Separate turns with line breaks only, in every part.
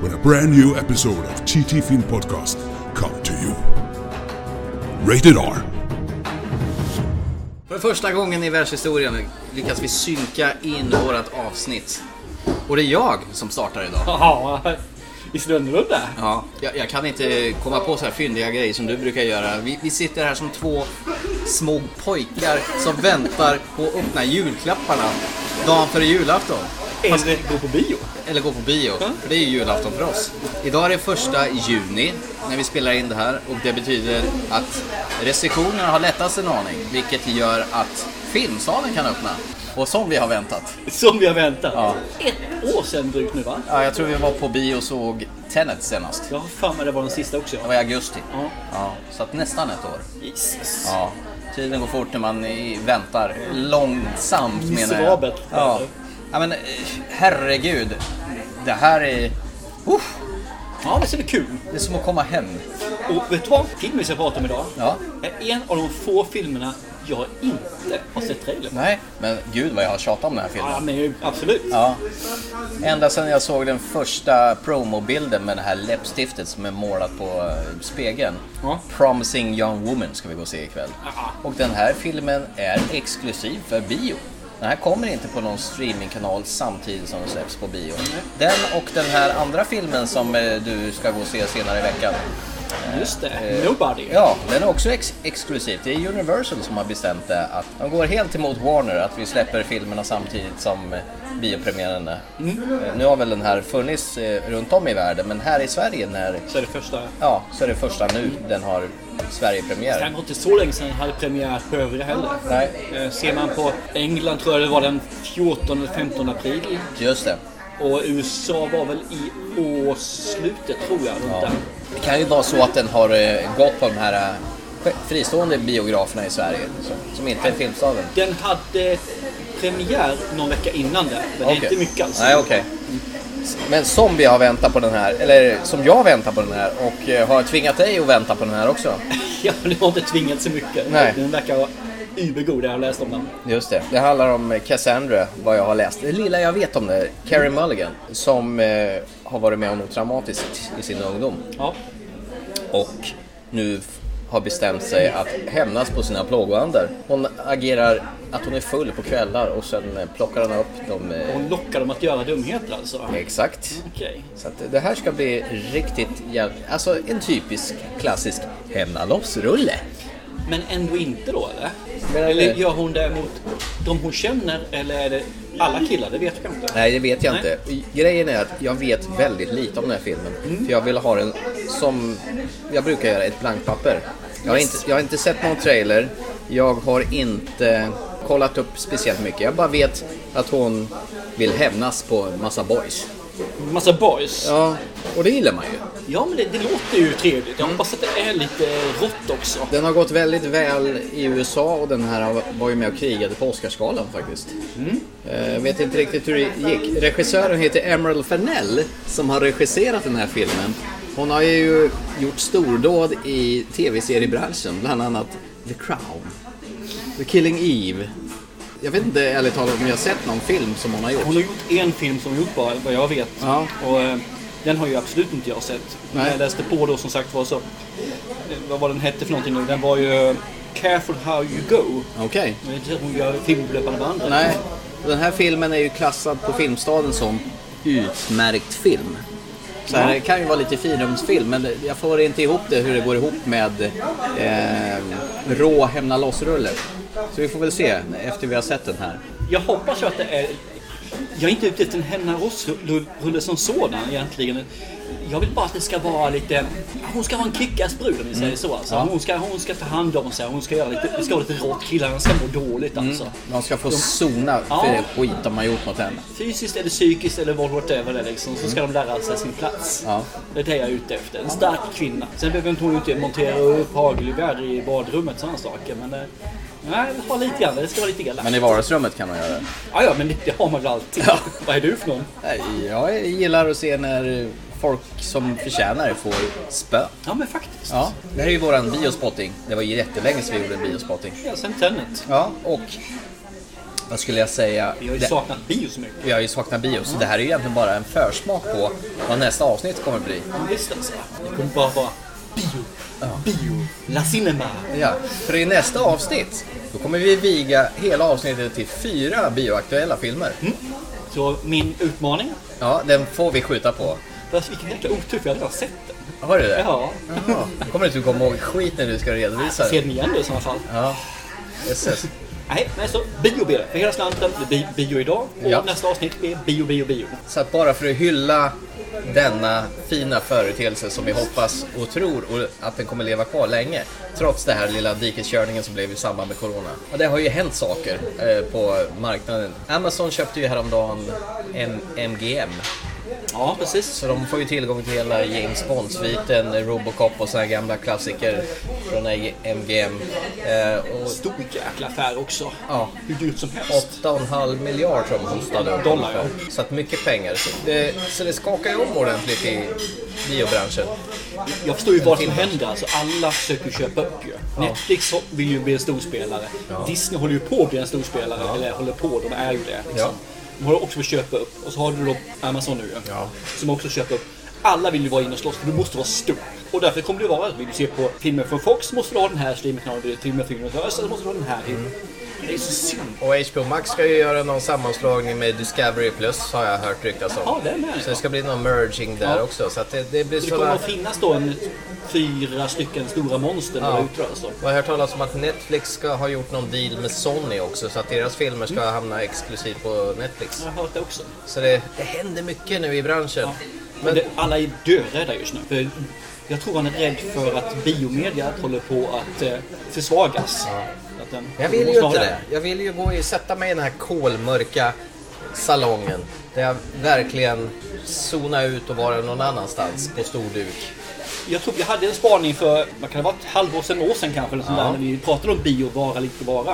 when a brand new episode of TT Film Podcast come to you. Rated R.
För första gången i världshistorien lyckas vi synka in vårat avsnitt. Och det är jag som startar idag.
Ja, visst är det annorlunda?
Ja, jag, jag kan inte komma på så här fyndiga grejer som du brukar göra. Vi, vi sitter här som två små pojkar som väntar på att öppna julklapparna dagen före julafton.
Eller gå på bio.
Eller gå på bio, för det är ju julafton för oss. Idag är det första juni när vi spelar in det här och det betyder att restriktionerna har lättats en aning, vilket gör att filmsalen kan öppna. Och som vi har väntat.
Som vi har väntat.
Ja.
Ett år sedan drygt nu va?
Ja, jag tror vi var på bio och såg Tenet senast.
Jag har för mig det var den sista också.
Det var i augusti.
Ja.
Ja, så att nästan ett år.
Jesus.
Ja. Tiden går fort när man i- väntar. Långsamt menar jag.
Miserabelt.
Ja. ja, men eh, herregud. Det här är... Uff,
Ja, men så är det kul.
det är som att komma hem.
Och vet du vad? Filmen vi ska prata om idag
Ja.
är en av de få filmerna jag inte har sett trailern.
Nej, men gud vad jag har tjatat om den här filmen.
Ja, men ju- absolut.
Ja. Ända sedan jag såg den första promobilden med det här läppstiftet som är målat på eh, spegeln.
Ja.
Promising Young Woman ska vi gå och se ikväll.
Aha.
Och den här filmen är exklusiv för bio. Den här kommer inte på någon streamingkanal samtidigt som den släpps på bio. Den och den här andra filmen som eh, du ska gå och se senare i veckan.
Just det. Nobody.
Eh. Ja, den är också ex- exklusiv. Det är Universal som har bestämt det. Att de går helt emot Warner, att vi släpper filmerna samtidigt som eh, biopremiären är. Eh, Nu har väl den här funnits eh, runt om i världen, men här i Sverige när,
Så är det första.
ja, så är det första nu den har
Det här
Sverigepremiär.
var inte så länge sedan den hade premiär på övriga heller.
Nej,
Eh, Ser man på England tror jag det var den 14 eller 15 april.
just det.
Och USA var väl i årsslutet tror jag. Runt
Ja.
där.
Det kan ju vara så att den har eh, gått på de här eh, fristående biograferna i Sverige, så- som inte är Filmstaden.
Den hade premiär någon vecka innan det, men det är
Okej.
inte mycket alls.
Nej, okej. Men som vi har väntat på den här, eller som jag väntar på den här och eh, har tvingat dig att vänta på den här också.
Jag har inte tvingat så mycket.
Nej.
Den verkar vara übergod, det har jag läst om den.
Just det. Det handlar om Cassandra, vad jag har läst. Det lilla jag vet om det, Carrie Mulligan, som eh, har varit med om något traumatiskt i sin ungdom
Ja.
och nu f- har bestämt sig att hämnas på sina plågoandar. Hon agerar att hon är full på kvällar och sen eh, plockar hon upp dem. Eh,
Hon lockar dem att göra dumheter alltså.
Exakt.
Okej.
Så att det här ska bli riktigt jävligt, alltså en typisk klassisk hemnaloppsrulle.
Men ändå inte då eller?
Men-
eller gör hon det mot de hon känner eller är det alla killar? Det vet jag inte.
Nej, det vet jag inte. Grejen är att jag vet väldigt lite om den här filmen. För jag vill ha den som jag brukar göra, ett blankt papper. Jag har inte, jag har inte sett någon trailer. Jag har inte kollat upp speciellt mycket. Jag bara vet att hon vill hämnas på en massa boys.
Massa boys. Ja,
Ja, och det gillar man ju.
men det, det låter ju trevligt.
Mm.
Jag hoppas att det är lite rått också.
Den har gått väldigt väl i USA och den här har- var ju med och krigade på Oscarsgalan faktiskt. Eh, vet inte riktigt hur det gick. Regissören heter Emerald Fennell som har regisserat den här filmen. Hon har ju gjort stordåd i tv-seriebranschen, bland annat The Crown, The Killing Eve. Jag vet inte ärligt talat om jag har sett någon film som hon har gjort.
Hon har gjort en film som hon gjort bara, vad jag vet.
Ja.
Och, eh, den har ju absolut inte jag sett.
Nej.
När jag läste på då som sagt var så... eh, Vad var den hette för någonting nu? Den var ju eh, Careful How You Go.
Okej.
Men inte hon gör film på löpande bandet.
Nej, den här filmen är ju klassad på Filmstaden som utmärkt film. Så här, det kan ju vara lite firumsfilm, men jag får inte ihop det hur det går ihop med eh, rå Hämna loss-rulle. Så vi får väl se efter vi har sett den här.
Jag hoppas ju att det är... Jag är inte ute efter en Henna Ross-rulle som sådan egentligen. Jag vill bara att det ska vara lite... Hon ska ha en kickass brud om vi säger så. Alltså.
Mm. Ja.
Hon, ska, hon ska ta hand om sig. Hon ska göra lite... Det ska vara lite rått. Killarna ska må dåligt
Mm.
alltså.
De ska få sona för
Ja.
det skit de har gjort mot henne.
Fysiskt eller psykiskt eller vad- whatever det är liksom. Så ska de lära sig sin plats.
Mm. Ja.
Det är det jag är ute efter. En stark kvinna. Sen behöver inte hon inte montera upp hagelgevär i badrummet sådana saker. Men... eh, Nej, ha lite grann. Det ska vara lite elakt.
Men i vardagsrummet kan man göra det.
Ja, ja, men det- det har man väl alltid. Vad är du för någon?
Nej, Jag gillar att se när folk som förtjänar det får spö.
Ja, men faktiskt.
Ja, det här är ju våran biospotting. Det var ju jättelänge sedan vi gjorde en biospotting.
Ja, sen Tenet.
Ja, och vad skulle jag säga?
Vi har ju
Det-
saknat bio så mycket.
vi har ju saknat bio, så det här är ju egentligen bara en försmak på vad nästa avsnitt kommer bli.
Men Visst alltså. Det kommer bara vara bio, bio, la cinema.
Ja, för i nästa avsnitt, då kommer vi viga hela avsnittet till fyra bioaktuella filmer.
Mm. Så min utmaning,
Ja, den får vi skjuta på.
fast vilken jäkla otur för jag har redan sett den.
Har du det?
Ja.
Jaha. Kommer du inte komma ihåg skit när du ska redovisa
Se
det?
den igen då i sådana fall.
Ja, jösses.
Nej, men så bio blir det. För hela slanten blir bi- bio idag och
Ja.
nästa avsnitt blir bio, bio, bio.
Så att bara för att hylla denna fina företeelse som vi hoppas och tror och att den kommer leva kvar länge. Trots det här lilla dikeskörningen som blev i samband med Corona. Och det har ju hänt saker eh, på marknaden. Amazon köpte ju häromdagen M- MGM.
Ja, precis.
Så de får ju tillgång till hela James Bond-sviten, Robocop och sådana gamla klassiker från MGM. Eh, och
Stor jäkla affär också.
Ja.
Hur dyrt som helst.
8,5 miljard tror jag de hostade. upp
Dollar, ja.
ungefär. Så att mycket pengar. Så det, så det skakar ju om ordentligt i biobranschen.
Jag förstår ju vad som händer. Alltså, alla försöker ju köpa upp ju. Netflix vill ju bli en storspelare. Disney håller ju på att bli en storspelare. Eller håller på, de är ju det. Liksom.
Ja.
De håller också på att köpa upp. Och så har du då Amazon nu ju.
Ja.
Som också köper upp. Alla vill ju vara inne och slåss för du måste vara stor. Och därför kommer det vara att vill du se på filmer från Fox måste du ha den här streamingkanalen. Vill du filmer från Universal måste du ha den här.
Mm.
Det är så synd.
Och HBO Max ska ju göra någon sammanslagning med Discovery Plus har jag hört ryktas om.
Ja, det är med.
Så det ska bli någon merging där
Ja.
också. Så att det, det blir
Så det kommer
sådana...
att finnas då en fyra stycken stora monster när
Ja.
ja. utrör alltså.
Jag har hört talas om att Netflix ska ha gjort någon deal med Sony också så att deras filmer ska
Mm.
hamna exklusivt på Netflix.
Jag har hört det också.
Så det, det händer mycket nu i branschen.
Men det, alla är dörädda just nu. För jag tror han är rädd för att biomediet håller på att eh, försvagas. Att den,
Jag
de
vill ju
måste ha
inte
den.
det. Jag vill ju gå och sätta mig i den här kolmörka salongen. Där jag verkligen zona ut och vara någon annanstans på stor duk.
Jag tror vi hade en spaning för, man kan ha varit ett halvår sedan, år sedan kanske, eller sånt
Ja.
där, när vi pratade om bio, vara, lite vara.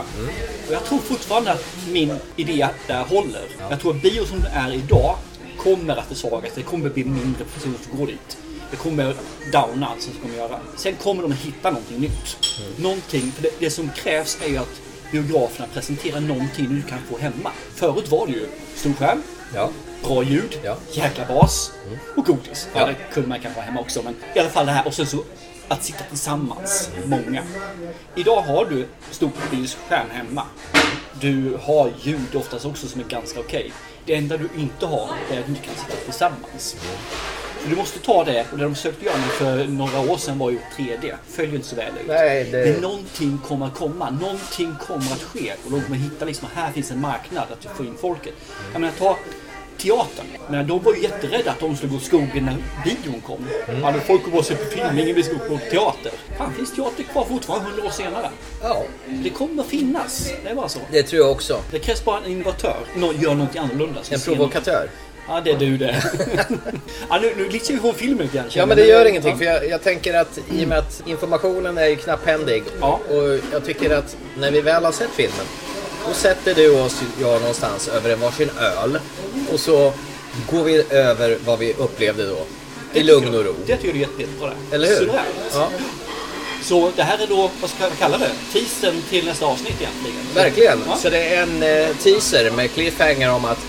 Och jag tror fortfarande att min idé där håller. Jag tror att bio som den är idag kommer att försvagas. Det kommer bli mindre personer som går dit. Det kommer downa allt som de kommer göra. Sen kommer de hitta någonting nytt. Någonting, för det, det som krävs är ju att biograferna presenterar någonting du kan få hemma. Förut var det ju stor skärm,
Ja.
bra ljud,
Ja.
jäkla bas och godis.
Ja.
Ja. Det kunde man kanske ha hemma också, men i alla fall det här. Och sen så att sitta tillsammans, många. Idag har du storbildsskärm hemma. Du har ljud oftast också som är ganska okej. Det enda du inte har är att du inte kan sitta tillsammans. Så du måste ta det, och det de försökte göra nu för några år sedan var ju 3D. Följer inte så väl ut.
Nej, det-
Men någonting kommer att komma, någonting kommer att ske och de kommer hitta liksom att här finns en marknad att få in folket. Jag menar ta teatern. Jag menar, de var ju jätterädda att de skulle gå i skogen när videon kom.
Mm.
Alltså, folk går bara och ser på film, ingen vill gå på teater. Fan, finns teater kvar fortfarande hundra år senare?
ja,
Det kommer att finnas, det är bara så.
det tror jag också.
Det krävs bara en innovatör, någon gör någonting annorlunda.
En provokatör.
Ja, det är du det. ja, nu, nu glitchar vi från filmen igen.
Ja men det gör ingenting för jag, jag tänker att i och med att informationen är ju knapphändig
Ja.
och jag tycker att när vi väl har sett filmen då sätter du oss jag någonstans över en varsin öl och så går vi över vad vi upplevde då. I lugn och ro.
Det tycker jag är jätte- jättebra. det.
Eller hur?
Suveränt.
Ja.
Så det här är då, vad ska jag kalla det? Teasern till nästa avsnitt egentligen.
Verkligen.
Ja.
Så det är en eh, teaser med cliffhanger om att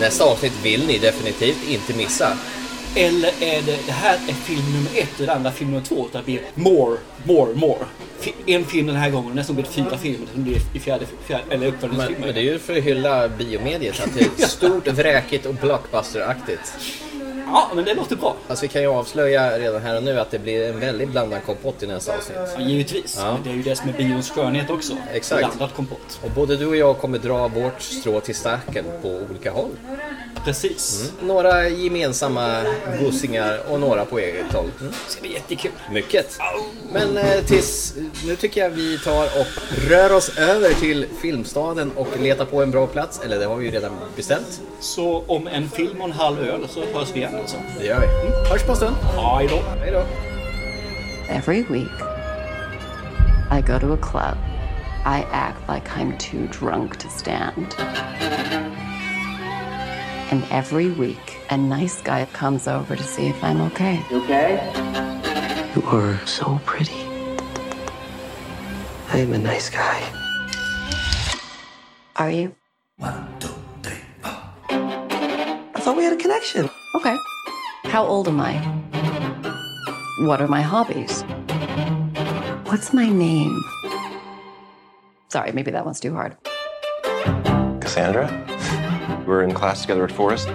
nästa avsnitt vill ni definitivt inte missa.
Eller är det, det här är film nummer ett och det andra film nummer två. Utan det blir more, more, more. Fi- En film den här gången, nästan blir det fyra filmer. Det blir i fjärde, fjärde eller
Men, men
uppföljningsfilmen.
det är ju för att hylla biomediet. Att det är stort, vräkigt och blockbusteraktigt.
Ja, men det låter bra.
Fast vi kan ju avslöja redan här och nu att det blir en väldigt blandad kompott i nästa avsnitt.
Ja, givetvis.
Ja.
Men det är ju det som är bions skönhet också.
Exakt.
Blandat kompott.
Och Mm. både du och jag kommer dra vårt strå till stacken på olika håll.
Precis.
Några gemensamma gosingar och några på eget håll. Mm.
Det ska bli jättekul.
Mycket. Men eh, tills, nu tycker jag vi tar och rör oss över till Filmstaden och letar på en bra plats. Eller det har vi ju redan bestämt.
Så om en film och en halv öl så hörs vi igen alltså.
Det gör vi. Mm. Hörs på en stund.
Aj då.
Hej då.
Every week, I go to a club. I act like I'm too drunk to stand. And every week, a nice guy comes over to see if I'm okay. You okay? You are so pretty.
I am a nice guy.
Are you?
I thought we had a connection.
Okay. How old am I? What are my hobbies? What's my name? Sorry, maybe that one's too hard.
Cassandra? We were in class together at Forest.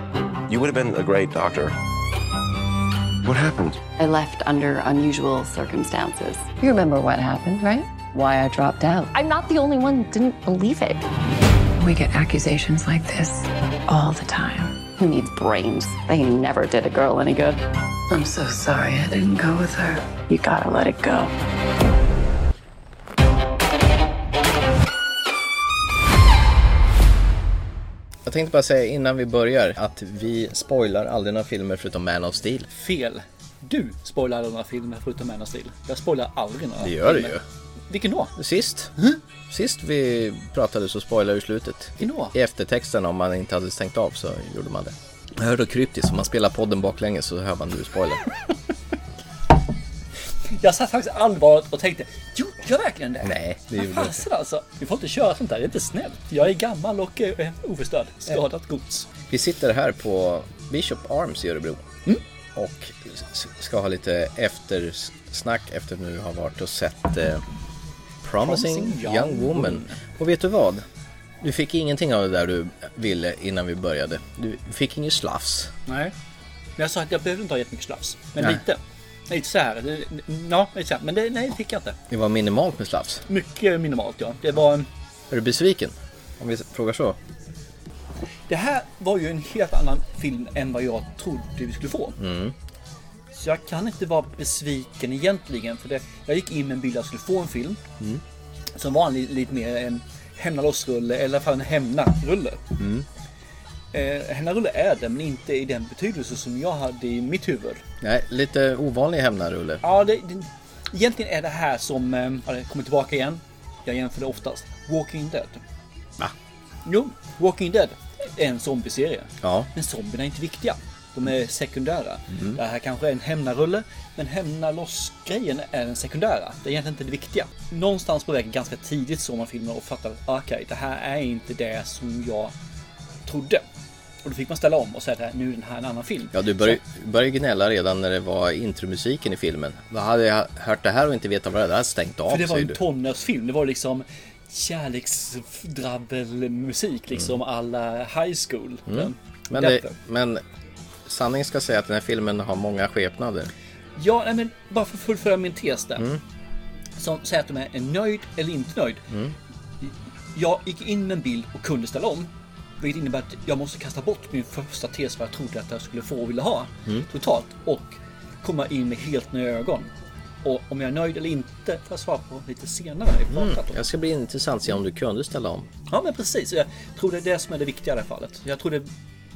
You would have been a great doctor. What happened?
I left under unusual circumstances. You remember what happened, right? Why I dropped out. I'm not the only one who didn't believe it. We get accusations like this all the time. Who needs brains? They never did a girl any good. I'm so sorry I didn't go with her. You gotta let it go.
Jag tänkte bara säga innan vi börjar att vi spoilar aldrig några filmer förutom Man of Steel.
Fel. Du spoilar några filmer förutom Man of Steel. Jag spoilar aldrig några.
Det gör du
filmer.
ju.
Vilken då?
Sist, sist vi pratade så spoilade du slutet.
Vilken då?
I eftertexten om man inte hade stängt av så gjorde man det. Jag hör då kryptiskt, om man spelar podden baklänges så hör man du spoilar.
Jag satt faktiskt allvarligt och tänkte, gjorde jag verkligen det?
Nej, det
Vad
gjorde du inte.
Fasen alltså. Vi får inte köra sånt där, det är inte snällt. Jag är gammal och eh, oförstörd. Skadat gods.
Vi sitter här på Bishop Arms i Örebro.
Mm.
Och s- ska ha lite eftersnack efter nu har varit och sett eh, Promising,
Promising
Young,
Young
Woman. Och vet du vad? Du fick ingenting av det där du ville innan vi började. Du fick inget slafs.
Nej. Men jag sa att jag behövde inte ha jättemycket slafs. Men
Nej.
lite. Lite så här. det- Ja, lite så här. Men det, nej, det fick jag inte.
Det var minimalt med slafs.
Mycket minimalt ja. Det var en...
Är du besviken? Om vi frågar så.
Det här var ju en helt annan film än vad jag trodde vi skulle få. Så jag kan inte vara besviken egentligen. För det, jag gick in med en bild att jag skulle få en film. Som var en, li- lite mer en hämna loss-rulle eller i alla fall en hämna-rulle. Eh, hämna-rulle är det, men inte i den betydelse som jag hade i mitt huvud.
Nej, lite ovanlig hämnarulle.
Ja, det, det, egentligen är det här som, eh, ja, det kommer tillbaka igen. Jag jämför det oftast. Walking Dead.
Va?
Jo, Walking Dead är en zombieserie.
Ja. Mhm.
Men zombierna är inte viktiga. De är sekundära. Det här kanske är en hämnarulle, men hämna loss-grejen är den sekundära. Det är egentligen inte det viktiga. Någonstans på vägen ganska tidigt såg man filmen och fattade att "Ah, okej, det här är inte det som jag trodde. Och då fick man ställa om och säga att nu är den här en annan film.
Ja, du började, började gnälla redan när det var intromusiken i filmen. Vad hade jag hört det här och inte vetat vad det där stängt av,
För det var ju
säger
en
du.
tonårsfilm. Det var liksom kärleksdrabbelmusik liksom alla high school.
Mm. Men, det, men sanningen ska säga att den här filmen har många skepnader.
Ja, nej, men bara för att fullfölja min tes där.
Mm.
Som säger att de är nöjd eller inte nöjd.
Mm.
Jag gick in med en bild och kunde ställa om. Vilket innebär att jag måste kasta bort min första tes vad jag trodde att jag skulle få och ville ha.
Mm.
Totalt. Och komma in med helt nya ögon. Och om jag är nöjd eller inte får jag svara på lite senare. i pratet.
Jag ska bli intressant att se om du kunde ställa om.
Ja men precis, jag tror det är det som är det viktiga i det här fallet. Jag tror det är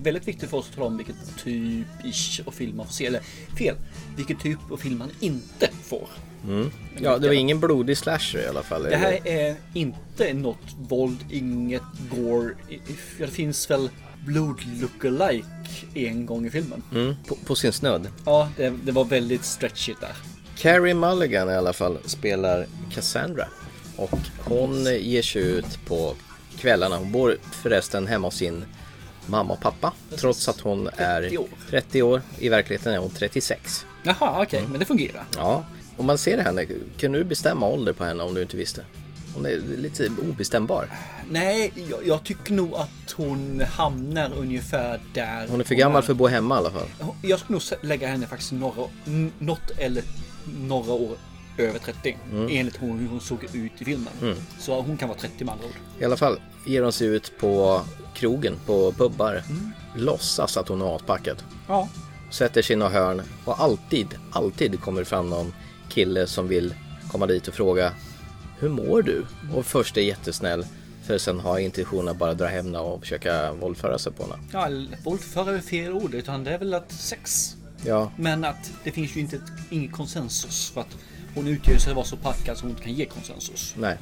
väldigt viktigt för oss att tala om vilket typ ish och film man får se. Eller fel, vilket typ av film man inte får.
Ja, det var ingen blodig slasher i alla fall.
Det här är inte något våld, inget gore. Ja, det finns väl blod lookalike en gång i filmen.
mm, på, på sin snudd.
Ja, det, det var väldigt stretchigt där.
Carrie Mulligan i alla fall spelar Cassandra. Och hon ger sig ut på kvällarna. Hon bor förresten hemma hos sin mamma och pappa. Trots att hon är
30 år.
30 år. I verkligheten är hon 36.
Jaha, okej,
Mm.
men det fungerar.
Ja, om man ser henne, kan du bestämma ålder på henne om du inte visste? Hon är lite obestämbar.
Nej, jag, jag tycker nog att hon hamnar ungefär där.
Hon är för gammal för att bo hemma i alla fall.
Jag skulle nog sä- lägga henne faktiskt några, n- något eller några år över 30. Enligt hon, hur hon såg ut i filmen. Så hon kan vara 30 med andra ord. Mm.
I alla fall ger hon sig ut på krogen, på pubbar. låtsas att hon är aspackad.
Ja.
Sätter sig i något hörn och alltid, alltid kommer det fram någon kille som vill komma dit och fråga Hur mår du? Och först är jättesnäll för sen har intentionen att bara dra hem henne och försöka våldföra sig på henne.
ja våldföra är fel ord, utan det är väl att sex.
Ja,
Men att det finns ju inte ett, ingen konsensus för att hon utger sig vara så packad så hon inte kan ge konsensus.
nej.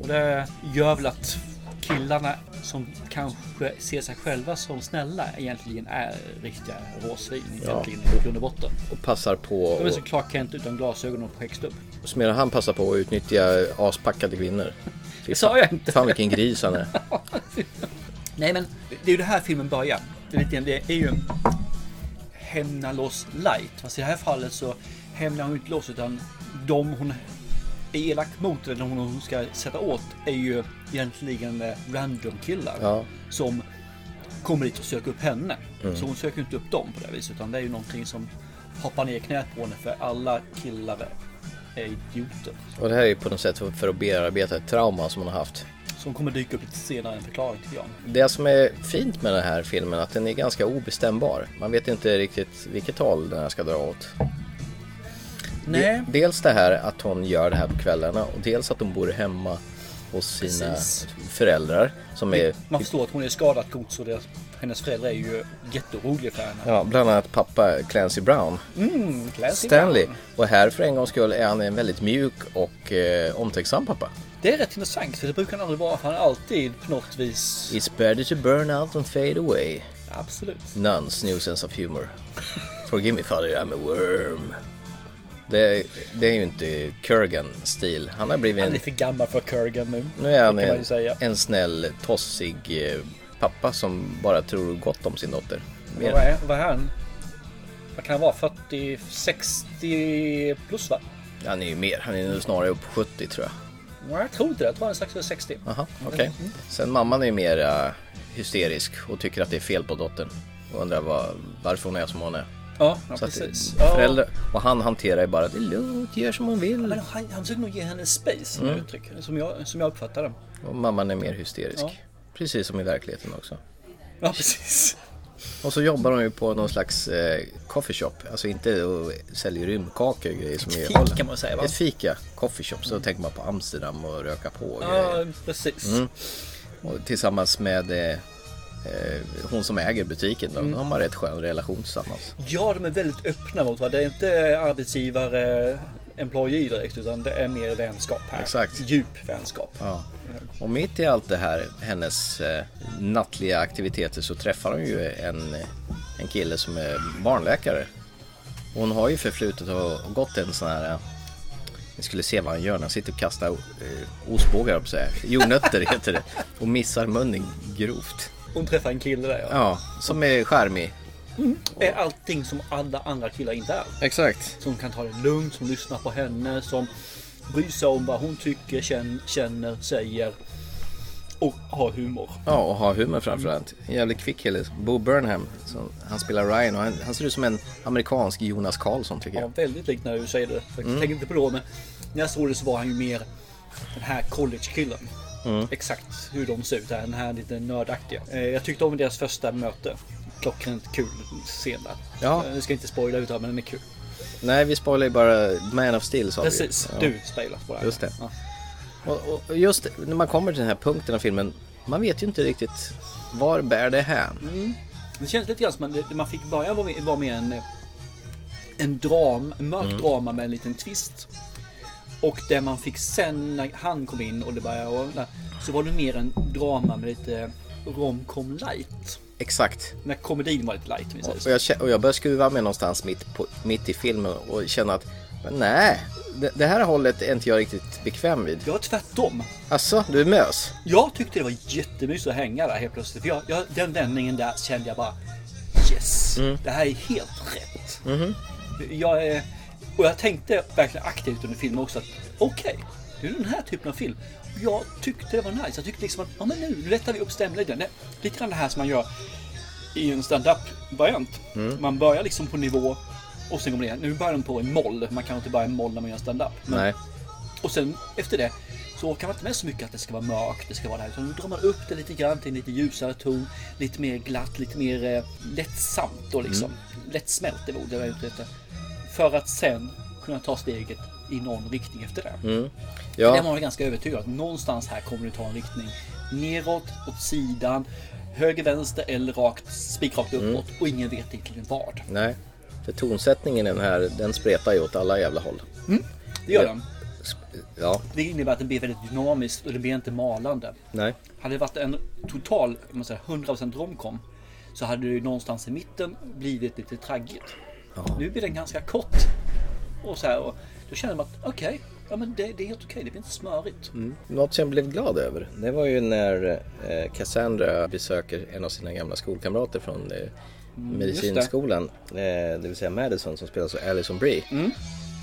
Och det gör väl att killarna som kanske ser sig själva som snälla egentligen är riktiga råsvin egentligen i grund och botten.
Och passar på
De är som
och,
Clark Kent utan glasögon och skäggstubb.
som medan han passar på att utnyttja aspackade kvinnor. Det
sa jag inte.
Fan vilken gris han är.
Nej men det är ju det här filmen börjar. Det är, lite, grann- det är ju hämna loss light. Fast i det här fallet så hämnar hon inte loss utan de hon är elak mot eller de hon ska sätta åt är ju egentligen eh, random killar
Ja.
som kommer dit och söker upp henne. Så hon söker inte upp dem på det här viset utan det är ju någonting som hoppar ner i knät på henne för alla killar är idioter.
Och det här är ju på något sätt för- för att bearbeta ett trauma som hon har haft.
Som kommer dyka upp lite senare i en förklaring tycker jag.
Det som är fint med den här filmen är att den är ganska obestämbar. Man vet inte riktigt vilket håll den här ska dra åt.
Nej.
Dels det här att hon gör det här på kvällarna och dels att hon bor hemma hos sina
Precis.
föräldrar som är
Man förstår att hon är skadad gods och deras, hennes föräldrar är ju jätteoroliga för henne.
ja, bland annat pappa Clancy Brown,
Classy
Stanley.
man.
Och här för en gångs skull är han en väldigt mjuk och eh, omtänksam pappa.
Det är rätt intressant för det brukar han aldrig vara för han är alltid på något vis...
It's better to burn out and fade away.
Absolut.
Nuns new sense of humor. Forgive me father, I'm a worm. Det, det är ju inte Kurgan-stil. Han har blivit
Han
en,
är för gammal för Kurgan nu.
nu är han
det kan man ju
en,
säga.
en snäll, tossig eh, pappa som bara tror gott om sin dotter.
Men Vad är, vad är han? Vad kan han vara? 40, 60 plus va?
Han är ju mer, han är nu snarare upp på 70 tror jag.
Nej, jag tror inte det. Jag tror han är strax över 60.
Aha, okej.
Mm.
Sen mamman är ju mer eh, hysterisk och tycker att det är fel på dottern. Och undrar vad, varför hon är som hon är.
Ja, ja
Så att det-
precis.
föräldrar, och han hanterar ju bara det är lugnt, gör som hon
Ja, men
vill.
han, han försöker nog ge henne space, som
Mm.
jag uttrycker det, som jag, som jag uppfattar det.
Och mamman är mer hysterisk.
Ja.
Precis som i verkligheten också.
Ja, precis.
Och så jobbar hon ju på någon slags eh, coffee shop. Alltså inte och säljer rymdkakor och grejer som
Ett
är
fik
Holland.
kan man säga, va? Mm.
Ett fika, coffee shop. Så tänker man på Amsterdam och röka på och
Ja,
grejer.
precis.
Mm. Och tillsammans med eh, eh, hon som äger butiken. Då.
Mm.
De har man rätt skön relation tillsammans.
Ja, de är väldigt öppna mot varandra. Det är inte arbetsgivare, employee direkt, utan det är mer vänskap här.
Exakt.
Djup vänskap.
Ja. Och mitt i allt det här, hennes eh, nattliga aktiviteter, så träffar hon ju en, eh, en kille som är barnläkare. Och Hon har ju förflutet och och gått en sån här, eh, vi skulle se vad han gör när han sitter och kastar eh, ostbågar, på säga. jordnötter heter det, och missar munnen grovt.
Hon träffar en kille där, ja.
Ja, som är charmig.
Är allting som alla andra killar inte är.
Exakt.
Som kan ta det lugnt, som lyssnar på henne, som bryr sig om vad hon tycker, känn- känner, säger. Och har humor.
Ja, och har humor framförallt. En jävligt kvick kille, Bo Burnham, som, han spelar Ryan och han, han ser ut som en amerikansk Jonas Karlsson tycker jag.
Ja, väldigt likt när du säger det. Faktiskt.
Mm.
Jag tänker inte på det, men när jag såg det så var han ju mer den här college-killen.
Mm.
Exakt hur de ser ut, här, den här lite nördaktiga. Eh, Jag tyckte om deras första möte. Klockrent kul scen där.
Ja.
Eh, Jag ska inte spoila utan men den är kul.
Nej, vi spoilar ju bara Man of Steel sa
Precis,
vi.
du spoilar på det. här.
Just det.
Ja.
Ja. Och, och- och just när man kommer till den här punkten av filmen, man vet ju inte riktigt var bär det hän.
Det känns lite grann som att man- man fick börja vara med, vara med en, eh, en dram, en mörk drama med en liten twist. Och det man fick sen när han kom in och det började ordna, så var det mer en drama med lite romcom light.
Exakt.
När komedin var lite light om vi säger
Och
så.
jag, kä- och jag börjar skruva mig någonstans mitt, på, mitt i filmen och känna att men nej, det, det här hållet är inte jag riktigt bekväm vid.
Jag var tvärtom.
Alltså, du är mös?
Jag tyckte det var jättemysigt att hänga där helt plötsligt. För jag, jag, den vändningen där kände jag bara yes, det här är helt rätt. Jag, är- och jag tänkte verkligen aktivt under filmen också att okej, det är den här typen av film. Jag tyckte det var nice. Jag tyckte liksom att ja, men nu lättar vi upp stämningen. Det är Lite grann det här som man gör i en stand-up variant. Man börjar liksom på nivå och sen går man ner. Nu börjar de på en moll. Man kan inte börja i moll när man gör stand-up. Men
Nej.
och sen efter det så orkar man inte med så mycket att det ska vara mörkt, det ska vara det här. Utan nu drar man upp det lite grann till en lite ljusare ton, lite mer glatt, lite mer eh, lättsamt då liksom. Lättsmält är ordet jag är ute efter. För att sen kunna ta steget i någon riktning efter det. Det var
Ja,
man ganska övertygad att någonstans här kommer du ta en riktning neråt, åt sidan, höger, vänster eller rakt, spikrakt uppåt och ingen vet egentligen vad.
nej. För tonsättningen i den här, den spretar ju åt alla jävla håll.
Det gör
Ja.
den.
Sp- Ja,
Det innebär att den blir väldigt dynamisk och den blir inte malande.
nej.
Hade det varit en total, om man säger 100% romcom så hade det ju någonstans i mitten blivit lite traggigt. Nu blir den ganska kort. Och så här, och då känner man att okej, ja, men det, det är helt okej, det blir inte smörigt.
Något som jag blev glad över, det var ju när eh, Cassandra besöker en av sina gamla skolkamrater från eh, medicinskolan, eh, det vill säga Madison som spelas av Alison Brie.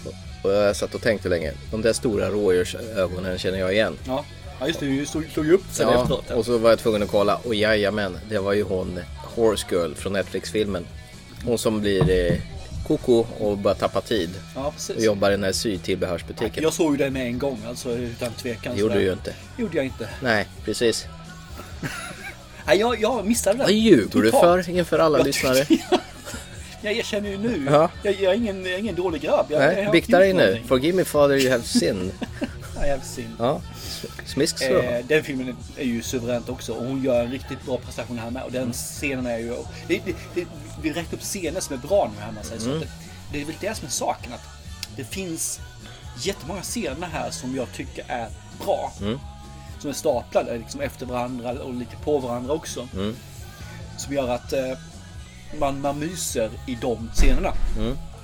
Och- Och jag satt och tänkte länge, de där stora rådjursögonen känner jag igen.
Ja. ja, just det, du slog slog ju upp sen
Ja,
efteråt.
och så var jag tvungen att kolla och jajamän, det var ju hon Horse Girl från Netflix-filmen. Hon som blir eh, koko och bara tappar tid
Ja, precis.
och jobbar i den här sytillbehörsbutiken.
Jag såg ju det med en gång, alltså utan tvekan.
Det gjorde
sådär.
du ju inte.
gjorde jag inte.
Nej, precis.
Nej, jag, jag missade det.
Vad ljuger du
totalt.
för inför alla
Jag-
lyssnare?
Jag erkänner ju nu.
Ja.
Jag, jag, är ingen, jag är ingen dålig grabb. Jag, jag
Nej,
har
bikta
gjort
dig nu.
någonting.
Forgive me father you have sinned.
Nej, jag är synd.
Ja, s- smisk så.
Eh, den filmen är ju suveränt också och hon gör en riktigt bra prestation här med. Och den scenen är ju... Det, det, det, vi räknar upp scener som är bra nu här man säger så. att Det, det är väl det som är saken. Att det finns jättemånga scener här som jag tycker är bra. Som är staplade liksom efter varandra och lite på varandra också. Som gör att eh, man, man myser i de scenerna.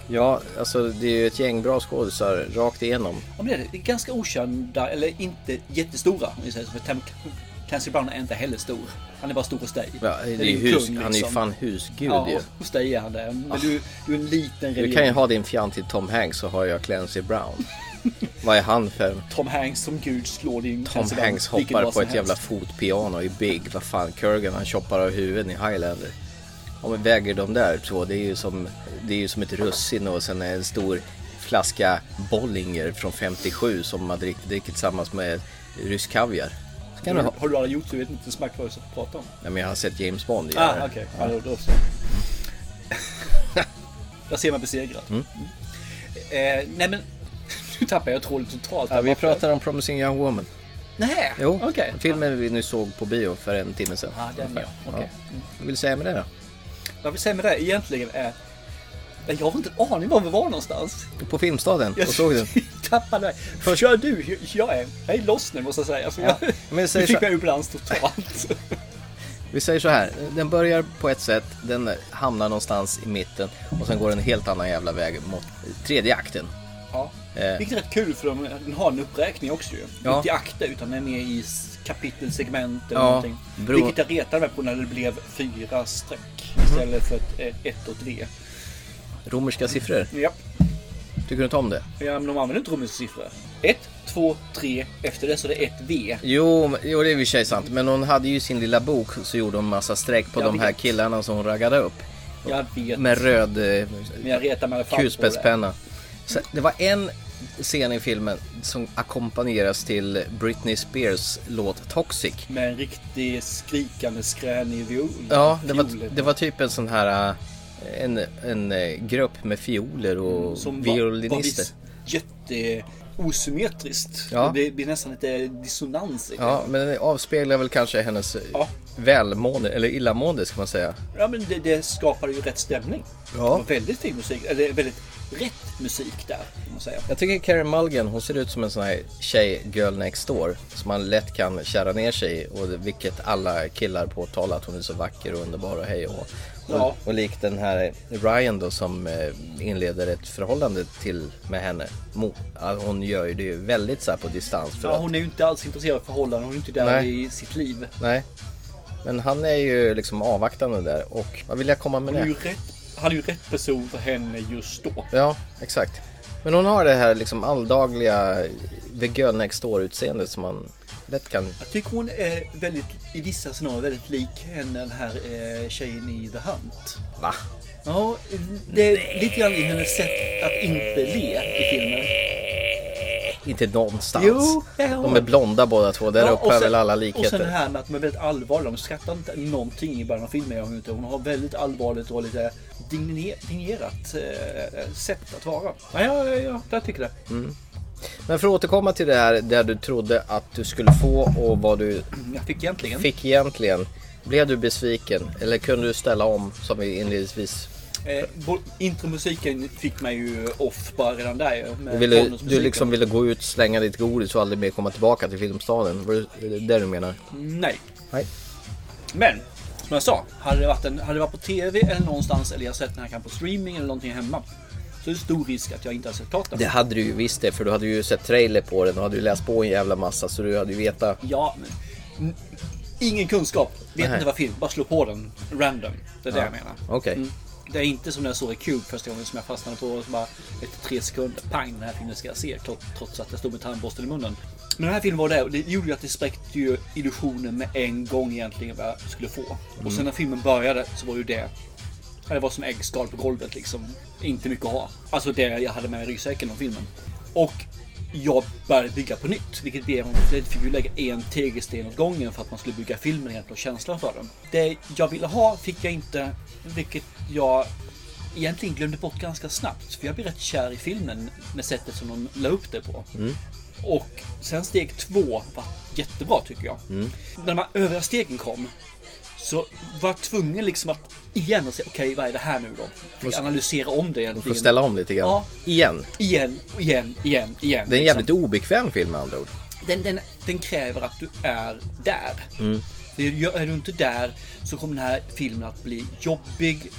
Ja, alltså det är ju ett gäng bra skådisar rakt igenom.
Ja, men det är det. Det är ganska okända, eller inte jättestora. om vi säger så, För Tam- Clancy Brown är inte heller stor. Han är bara stor hos dig.
Ja, det är
din
ju hus,
kung,
han är ju
liksom.
fan husgud ju.
Ja, hos dig är han det. Men du, du är en liten
Du kan ju
religion.
ha din fjant till Tom Hanks så har jag Clancy Brown. Vad är han för?
Tom Hanks som gud slår din
Tom
Clancy Brown
Hanks
vilken
hoppar
dag
på
som
ett jävla
helst.
fotpiano i Big. Vad fan, Kurgan han choppar av huvuden i Highlander. Ja men väger de där två, det är ju som, det är ju som ett russin och sen en stor flaska Bollinger från 57 som man drick, dricker tillsammans med rysk kaviar. Så kan du ha.
Har du aldrig gjort så vet du inte smack vad du pratar om.
Nej men jag har sett James Bond göra
Ah,
det.
okej. Ja, då- då så. Där ser man besegrad.
Mm.
Eh, nej men, nu tappar jag tråden totalt.
Ja, vi pratar om Promising Young Woman.
Nej,
Jo,
okej.
filmen vi nu såg på bio för en timme sedan.
Ja, den ja. Okej.
Ja. Vad vill du säga med det då?
Vad jag vill säga med det egentligen är men jag har inte en aning var vi var någonstans.
På Filmstaden
Jag
och såg den.
tappade mig. Först kör du, jag är, jag är lost nu måste jag säga. För jag,
men jag säger
nu fick
så-
jag ur balans totalt.
Vi säger så här, den börjar på ett sätt, den hamnar någonstans i mitten och sen går den en helt annan jävla väg mot tredje akten.
ja.
Eh.
Vilket är rätt kul för de, den har en uppräkning också ju.
Ja.
Inte i akter utan den är mer i s- kapitel, segment eller
Ja,
någonting.
bro- Mhm.
Vilket jag retade mig på när det blev fyra streck istället för ett, eh, ett och tre.
Romerska siffror,
Japp.
tycker du inte om det?
Ja, men de använder inte Rommels siffror. Ett, två, tre. Efter det så är det ett V.
Jo, men- jo det är i och för sig sant, men hon hade ju i sin lilla bok så gjorde hon massa streck på
Jag
de här
vet.
killarna som hon raggade upp.
Jag vet.
Med röd eh,
Men jag retar mig i alla fall på det.
kulspetspenna. Så Det var en scen i filmen som ackompanjeras till Britney Spears låt Toxic.
Med en riktig skrikande skränig viol.
Ja, det var,
Fioler.
det var typ en sån här eh, en, en eh, grupp med fioler och
Mm, Som var-
violinister.
Var jätte osymmetriskt.
Ja.
Det blir nästan lite dissonans i det.
Ja, men det avspeglar väl kanske hennes eh,
Ja.
välmående, eller illamående ska man säga.
ja, men det, det skapar ju rätt stämning.
Ja.
Det var väldigt fin musik, eller väldigt rätt musik där. Kan man säga.
Jag tycker Karen Mulligan, hon ser ut som en sån här tjej, girl next door, som man lätt kan kära ner sig i och det- vilket alla killar påtalar att hon är så vacker och underbar och hej och hå.
Ja.
och, och lik den här Ryan då som eh, inleder ett förhållande till med henne. Mo- ja, Hon gör ju det ju väldigt så här på distans för
Ja,
att
hon är ju inte alls intresserad av förhållanden, hon är inte där
Nej.
i sitt liv.
Nej. Men han är ju liksom avvaktande där och vad vill jag komma med
Hon är ju
det?
rätt, han är ju rätt person för henne just då.
Ja, exakt. Men hon har det här liksom alldagliga the girl next door utseendet som man lätt kan...
Jag tycker hon är väldigt, i vissa scenarier väldigt lik henne, den här eh, tjejen i The Hunt.
Va?
Ja, det är lite grann i hennes sätt att inte le i filmen.
Inte någonstans.
Jo, jag har-
de är blonda båda två. Där
Ja, och
uppe är
sen-
väl alla
Och sen det
likheter.
här med att de är väldigt allvarliga. De skrattar inte någonting i början av filmen. Jag inte. Hon har väldigt allvarligt och lite digner- dignerat eh, sätt att vara. Ja, ja, ja, ja jag tycker det.
Men för att återkomma till det här där du trodde att du skulle få och vad du
Jag fick egentligen.
fick egentligen. Blev du besviken eller kunde du ställa om som vi inledningsvis?
Eh, bo- intromusiken fick mig ju off bara redan där. Med
Du, ville, du
bakgrundsmusiken.
liksom ville gå ut, slänga ditt godis och aldrig mer komma tillbaka till filmstaden. Var det- är det det du menar?
Nej.
Nej.
Men som jag sa, hade det, varit en, hade det varit på TV eller någonstans eller jag sett den här kanske på streaming eller någonting hemma. Så är det stor risk att jag inte har sett klart den.
Det hade du ju visst det, för du hade ju sett trailer på den och hade ju läst på en jävla massa så du hade ju vetat.
Ja, men n- ingen kunskap. Vet
Nej.
inte vad film, bara slå på den random. Det är det jag menar.
Okej.
Mm. Det är inte som när jag såg i Cube första gången som jag fastnade på och så bara efter tre sekunder, pang den här filmen ska jag se trots- trots att jag stod med tandborsten i munnen. Men den här filmen var det och det gjorde ju att det spräckte ju illusionen med en gång egentligen vad jag skulle få. Och sen när filmen började så var ju det ja, det var som äggskal på golvet liksom. Inte mycket att ha. Alltså det jag hade med mig i ryggsäcken om filmen. Och jag började bygga på nytt. Vilket blev att jag fick ju lägga en tegelsten åt gången för att man skulle bygga filmen egentligen och känslan för den. Det jag ville ha fick jag inte. Vilket jag egentligen glömde bort ganska snabbt. För jag blev rätt kär i filmen med sättet som de la upp det på.
Mm.
Och sen steg två var jättebra tycker jag.
Mm.
När de här övriga stegen kom så var jag tvungen liksom att igen och säga okej vad är det här nu då? Fick analysera om det
Du får
egentligen.
ställa om lite grann.
Ja.
Igen.
Igen, och igen, igen, igen.
Det är en
liksom.
jävligt obekväm film med andra ord.
den, den, den kräver att du är där.
Mm.
Det gör- Är du inte där så kommer den här filmen att bli jobbig,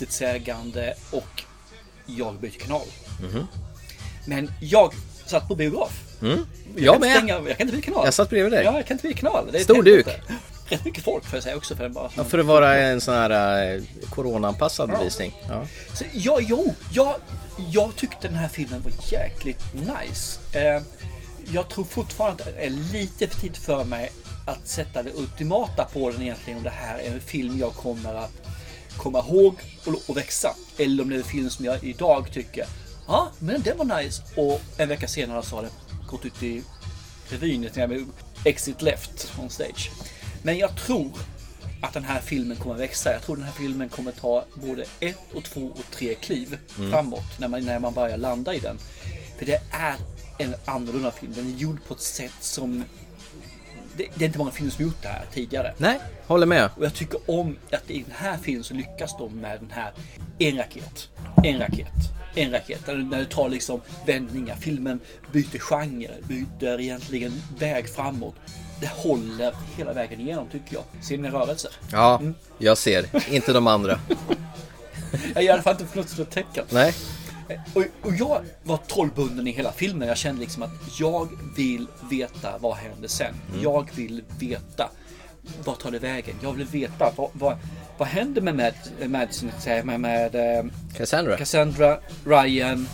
intetsägande och jag byter kanal. Men jag satt på biograf.
Mhm. Jag
kan inte
med.
Stänga, jag kan inte byta kanal.
Jag satt bredvid dig.
Ja, jag kan inte byta kanal. Det är ett
Stor
helvete.
duk.
Rätt mycket folk får jag säga också. För den bara,
För att vara en sån här eh, coronaanpassad visning. Ja.
Så, ja, jo, jag, jag tyckte den här filmen var jäkligt nice. Eh, jag tror fortfarande att det är lite för tidigt för mig att sätta det ultimata på den egentligen. Om det här är en film jag kommer att komma ihåg och, och växa. Eller om det är en film som jag idag tycker, ja, men den var nice. Och en vecka senare så har det gått ut i revyn, lite grann med Exit Left on stage. Men jag tror att den här filmen kommer att växa. Jag tror den här filmen kommer att ta både ett och två och tre kliv framåt när man, när man börjar landa i den. För det är en annorlunda film. Den är gjord på ett sätt som... Det, det är inte många filmer som gjort det här tidigare.
Nej, håller med.
Och jag tycker om att i den här filmen så lyckas de med den här en raket, en raket, en raket. Där du- När du tar liksom vändningar, filmen byter genre, byter egentligen väg framåt. Det håller hela vägen igenom tycker jag. Ser ni rörelser?
Ja,
Mm.
jag ser. Inte de andra.
Jag gör i alla fall inte för något stort tecken.
Nej.
Och, och jag var trollbunden i hela filmen. Jag kände liksom att jag vill veta vad händer sen. Jag vill veta vad tar det vägen. Jag vill veta vad, vad, vad händer med Mad, Madison, säger jag, med, med, eh,
Cassandra. Mm.
Cassandra, Ryan,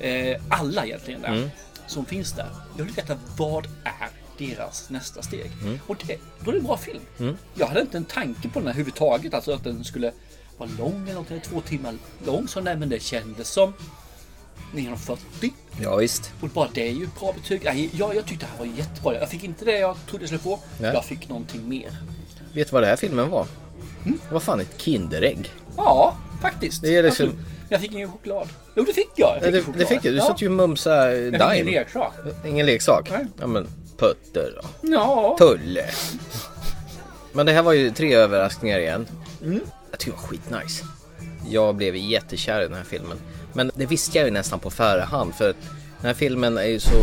eh, alla egentligen där som finns där. Jag vill veta vad är deras nästa steg.
Mm.
Och det, då är det en bra film. Jag hade inte en tanke på den här överhuvudtaget, alltså att den skulle vara lång eller någonting, två timmar lång sån där, men det kändes som 940.
Ja, visst.
Och bara det är ju ett bra betyg. Nej, jag, jag tyckte det här var jättebra. Jag fick inte det jag trodde jag skulle få.
Nej.
Jag fick någonting mer.
Vet du vad den här filmen var?
Mm.
Vad fan, ett Kinderägg?
Ja, faktiskt.
Det är liksom-
Absolut. Jag fick ingen choklad. Jo, det fick jag. jag
Ja,
fick
det,
choklad.
det fick du. Du
Ja.
satt ju och mumsade eh,
Jag fick ingen
Dime.
leksak.
Ingen leksak?
Nej.
Ja, men Putter då.
Ja.
Tulle. Men det här var ju tre överraskningar igen. Jag tycker det var skitnice. Jag blev jättekär i den här filmen. Men det visste jag ju nästan på förhand för att den här filmen är ju så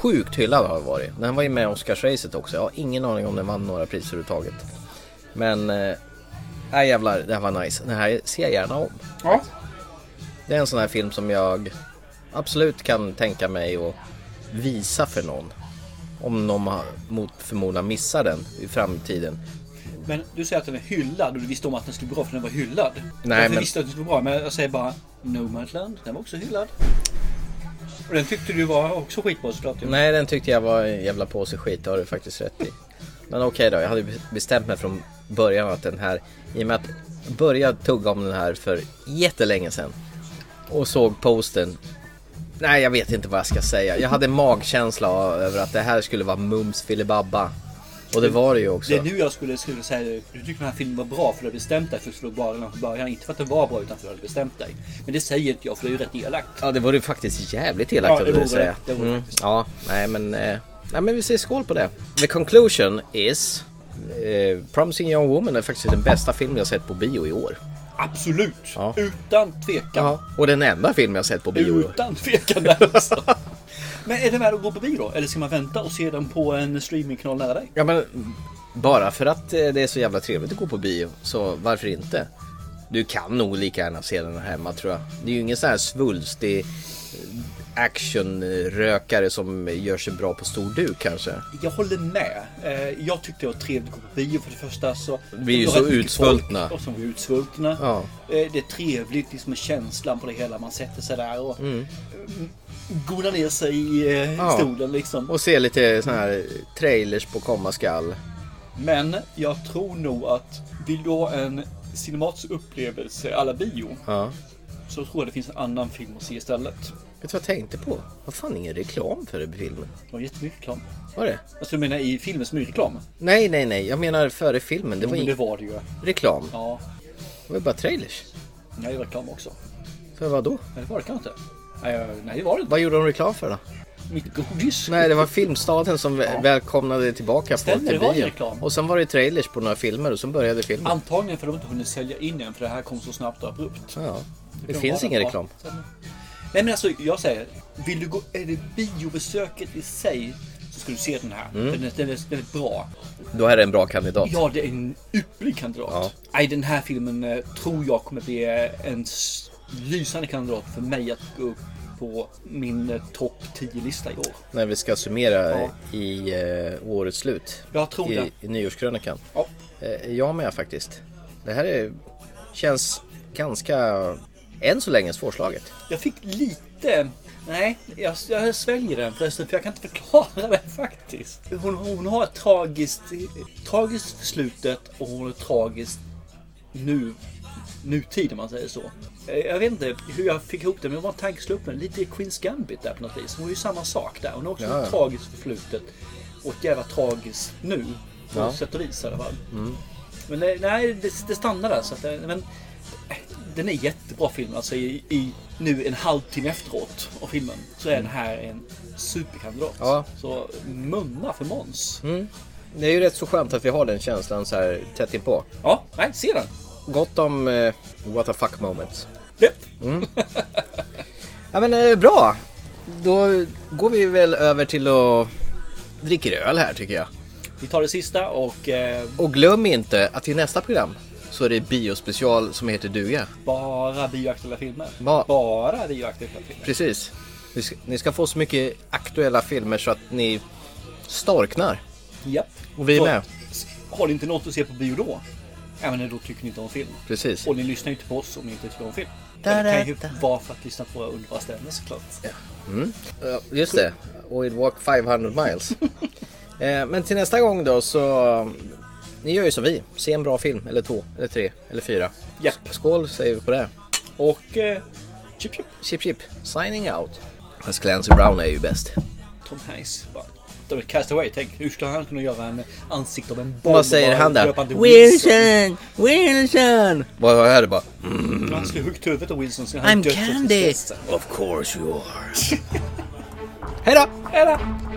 sjukt hyllad har den varit. Den var ju med i Oscarsracet också. Jag har ingen aning om den vann några priser överhuvudtaget. Men, eh, nej jävlar, det här var nice. Den här ser jag gärna om.
Ja.
Det är en sån här film som jag absolut kan tänka mig att visa för någon. Om någon har- mot förmodan missar den i framtiden.
Men du säger att den är hyllad och du visste om att den skulle bli bra för den var hyllad. Nej,
men-
Jag visste att den skulle bli bra, men jag säger bara Nomadland, den var också hyllad. Och den tyckte du var också skitbra såklart. ju.
Nej, den tyckte jag var en jävla påse skit, det har du faktiskt rätt i. Men okej då, jag hade bestämt mig från början att den här, i och med att jag började tugga om den här för jättelänge sedan och såg posten Nej, jag vet inte vad jag ska säga. Jag hade en magkänsla av- över att det här skulle vara mums filibabba. Och det var det ju också.
Det är nu jag skulle, skulle säga du tyckte den här filmen var bra för du hade bestämt dig för att slå bara redan från början. Inte för att den var bra utan för att du hade bestämt dig. Men det säger inte jag för det är ju rätt elakt.
Ja, det vore ju faktiskt jävligt elakt
Ja,
av
det
dig att
vore det.
säga.
Det vore det
Mm,
faktiskt.
ja, nej men, eh, nej men vi säger skål på det. The conclusion is eh, Promising Young Woman är faktiskt den bästa film jag sett på bio i år.
Absolut!
Ja.
Utan tvekan.
Ja. Och den enda film jag sett på bio i år.
Utan tvekan närmast. Men är det värd att gå på bio då? Eller ska man vänta och se den på en streamingkanal nära dig?
Ja men bara för att eh, det är så jävla trevligt att gå på bio så varför inte? Du kan nog lika gärna se den hemma tror jag. Det är ju ingen sån här svulstig eh, actionrökare som gör sig bra på stor duk kanske.
Jag håller med. Eh, Jag tyckte det var trevligt att gå på bio för det första. Så
Vi är ju
Det var
så
rätt mycket
utsvultna.
folk Och så är vi utsvultna.
Ja.
Eh, Det är trevligt liksom med känslan på det hela. Man sätter sig där och mm. gonar ner sig i eh,
Ja.
stolen liksom.
Och se lite sån här trailers på komma skall.
Men jag tror nog att vill du ha en cinematisk upplevelse alla bio
Ja.
så tror jag det finns en annan film att se istället.
Vet du vad jag tänkte på? Vad fan ingen reklam för den filmen?
Det var jättemycket reklam.
Var det?
Alltså du menar i filmen som är reklam?
Nej, nej, nej. Jag menar före filmen. Det
Jo,
var
men det
ingen
var det ju.
reklam.
Ja,
Det var bara trailers.
nej, det var reklam också.
För vad då?
Nej, det var det kanske inte. Nej, jag- nej, det var det inte.
Vad gjorde de reklam för då?
Mitt godis.
Nej, det var Filmstaden som vä- välkomnade tillbaka folk
Stämmer,
till
det var ju
bio.
reklam.
Och sen var det trailers på några filmer och sen började filmen.
Antagligen för att de inte hunnit sälja in än för det här kom så snabbt och abrupt.
Ja, det
kan
finns
vara
ingen
det.
reklam.
Ja. Nej men alltså jag säger, vill du gå, är det biobesöket i sig så ska du se den här.
Mm.
Den, är, den, är, den är bra.
Då är det en bra kandidat.
Ja, det är en ypperlig kandidat.
Ja.
Nej, den här filmen eh, tror jag kommer bli eh, en s- lysande kandidat för mig att gå upp på min eh, topp 10-lista i år.
När vi ska summera
Ja.
i eh, årets slut.
Jag tror
I,
det.
i nyårskrönikan.
Ja.
Eh, jag med faktiskt. Det här är, känns ganska, än så länge, svårslaget.
Jag fick lite... Nej, jag, jag sväljer den förresten för jag kan inte förklara det faktiskt. Hon, hon har ett tragiskt, tragiskt för slutet och hon har ett tragiskt nu, nutid om man säger så. Eh, Jag vet inte hur jag fick ihop det men jag bara tankeslog upp den. Lite i Queens Gambit där på något vis. Hon är ju samma sak där. Hon har också
Ja, ja.
ett tragiskt förflutet och ett jävla tragiskt nu. På
Ja. Mm.
sätt och vis i alla fall. Men eh, nej, det, det stannar där. Så att, eh, men, den är jättebra film alltså i, i nu en halvtimme efteråt av filmen så är den här en superkandidat.
Mm. Ja. Mm.
Så mumma för Måns.
Det är ju rätt så skönt att vi har den känslan så här tätt inpå.
Ja, nej, se den.
Gott om eh, what the fuck moments.
Japp.
Ja men eh, bra! Då går vi väl över till att dricka öl här tycker jag.
Vi tar det sista och eh,
Och glöm inte att i nästa program så är det biospecial som heter duga.
bara bioaktuella filmer.
Ba-
Bara bioaktuella filmer.
Precis. Ni ska, ni ska få så mycket aktuella filmer så att ni storknar.
Japp.
Och vi är
Så,
med.
Har ni inte något att se på bio då? Ja men då tycker ni inte om film.
Precis.
Och ni lyssnar ju inte på oss om ni inte tycker om film. Men Det kan ju
Da-da-da.
vara för att lyssna på våra underbara stämmer såklart.
Ja, Just det. Och it walk 500 miles. eh, men till nästa gång då så... Ni gör ju som vi. Se en bra film. Eller två. Eller tre. Eller fyra.
Japp.
Skål säger vi på det.
Och eh, chip chip.
Chip chip. Signing out. Fast Clancy Brown är ju bäst.
Tom Hanks bara... De är Castaway, tänk hur skulle han kunna göra en ansikte av en boll?
Vad säger
och bara
han där?
löpande
Wilson! Wilson! Vad har jag det bara?
Wilson. Han skulle huggt huvudet av Wilson sen hade
Mm. I'm
han dött av
Candy!
tristess.
Of course you are. Hej då!
Hej då!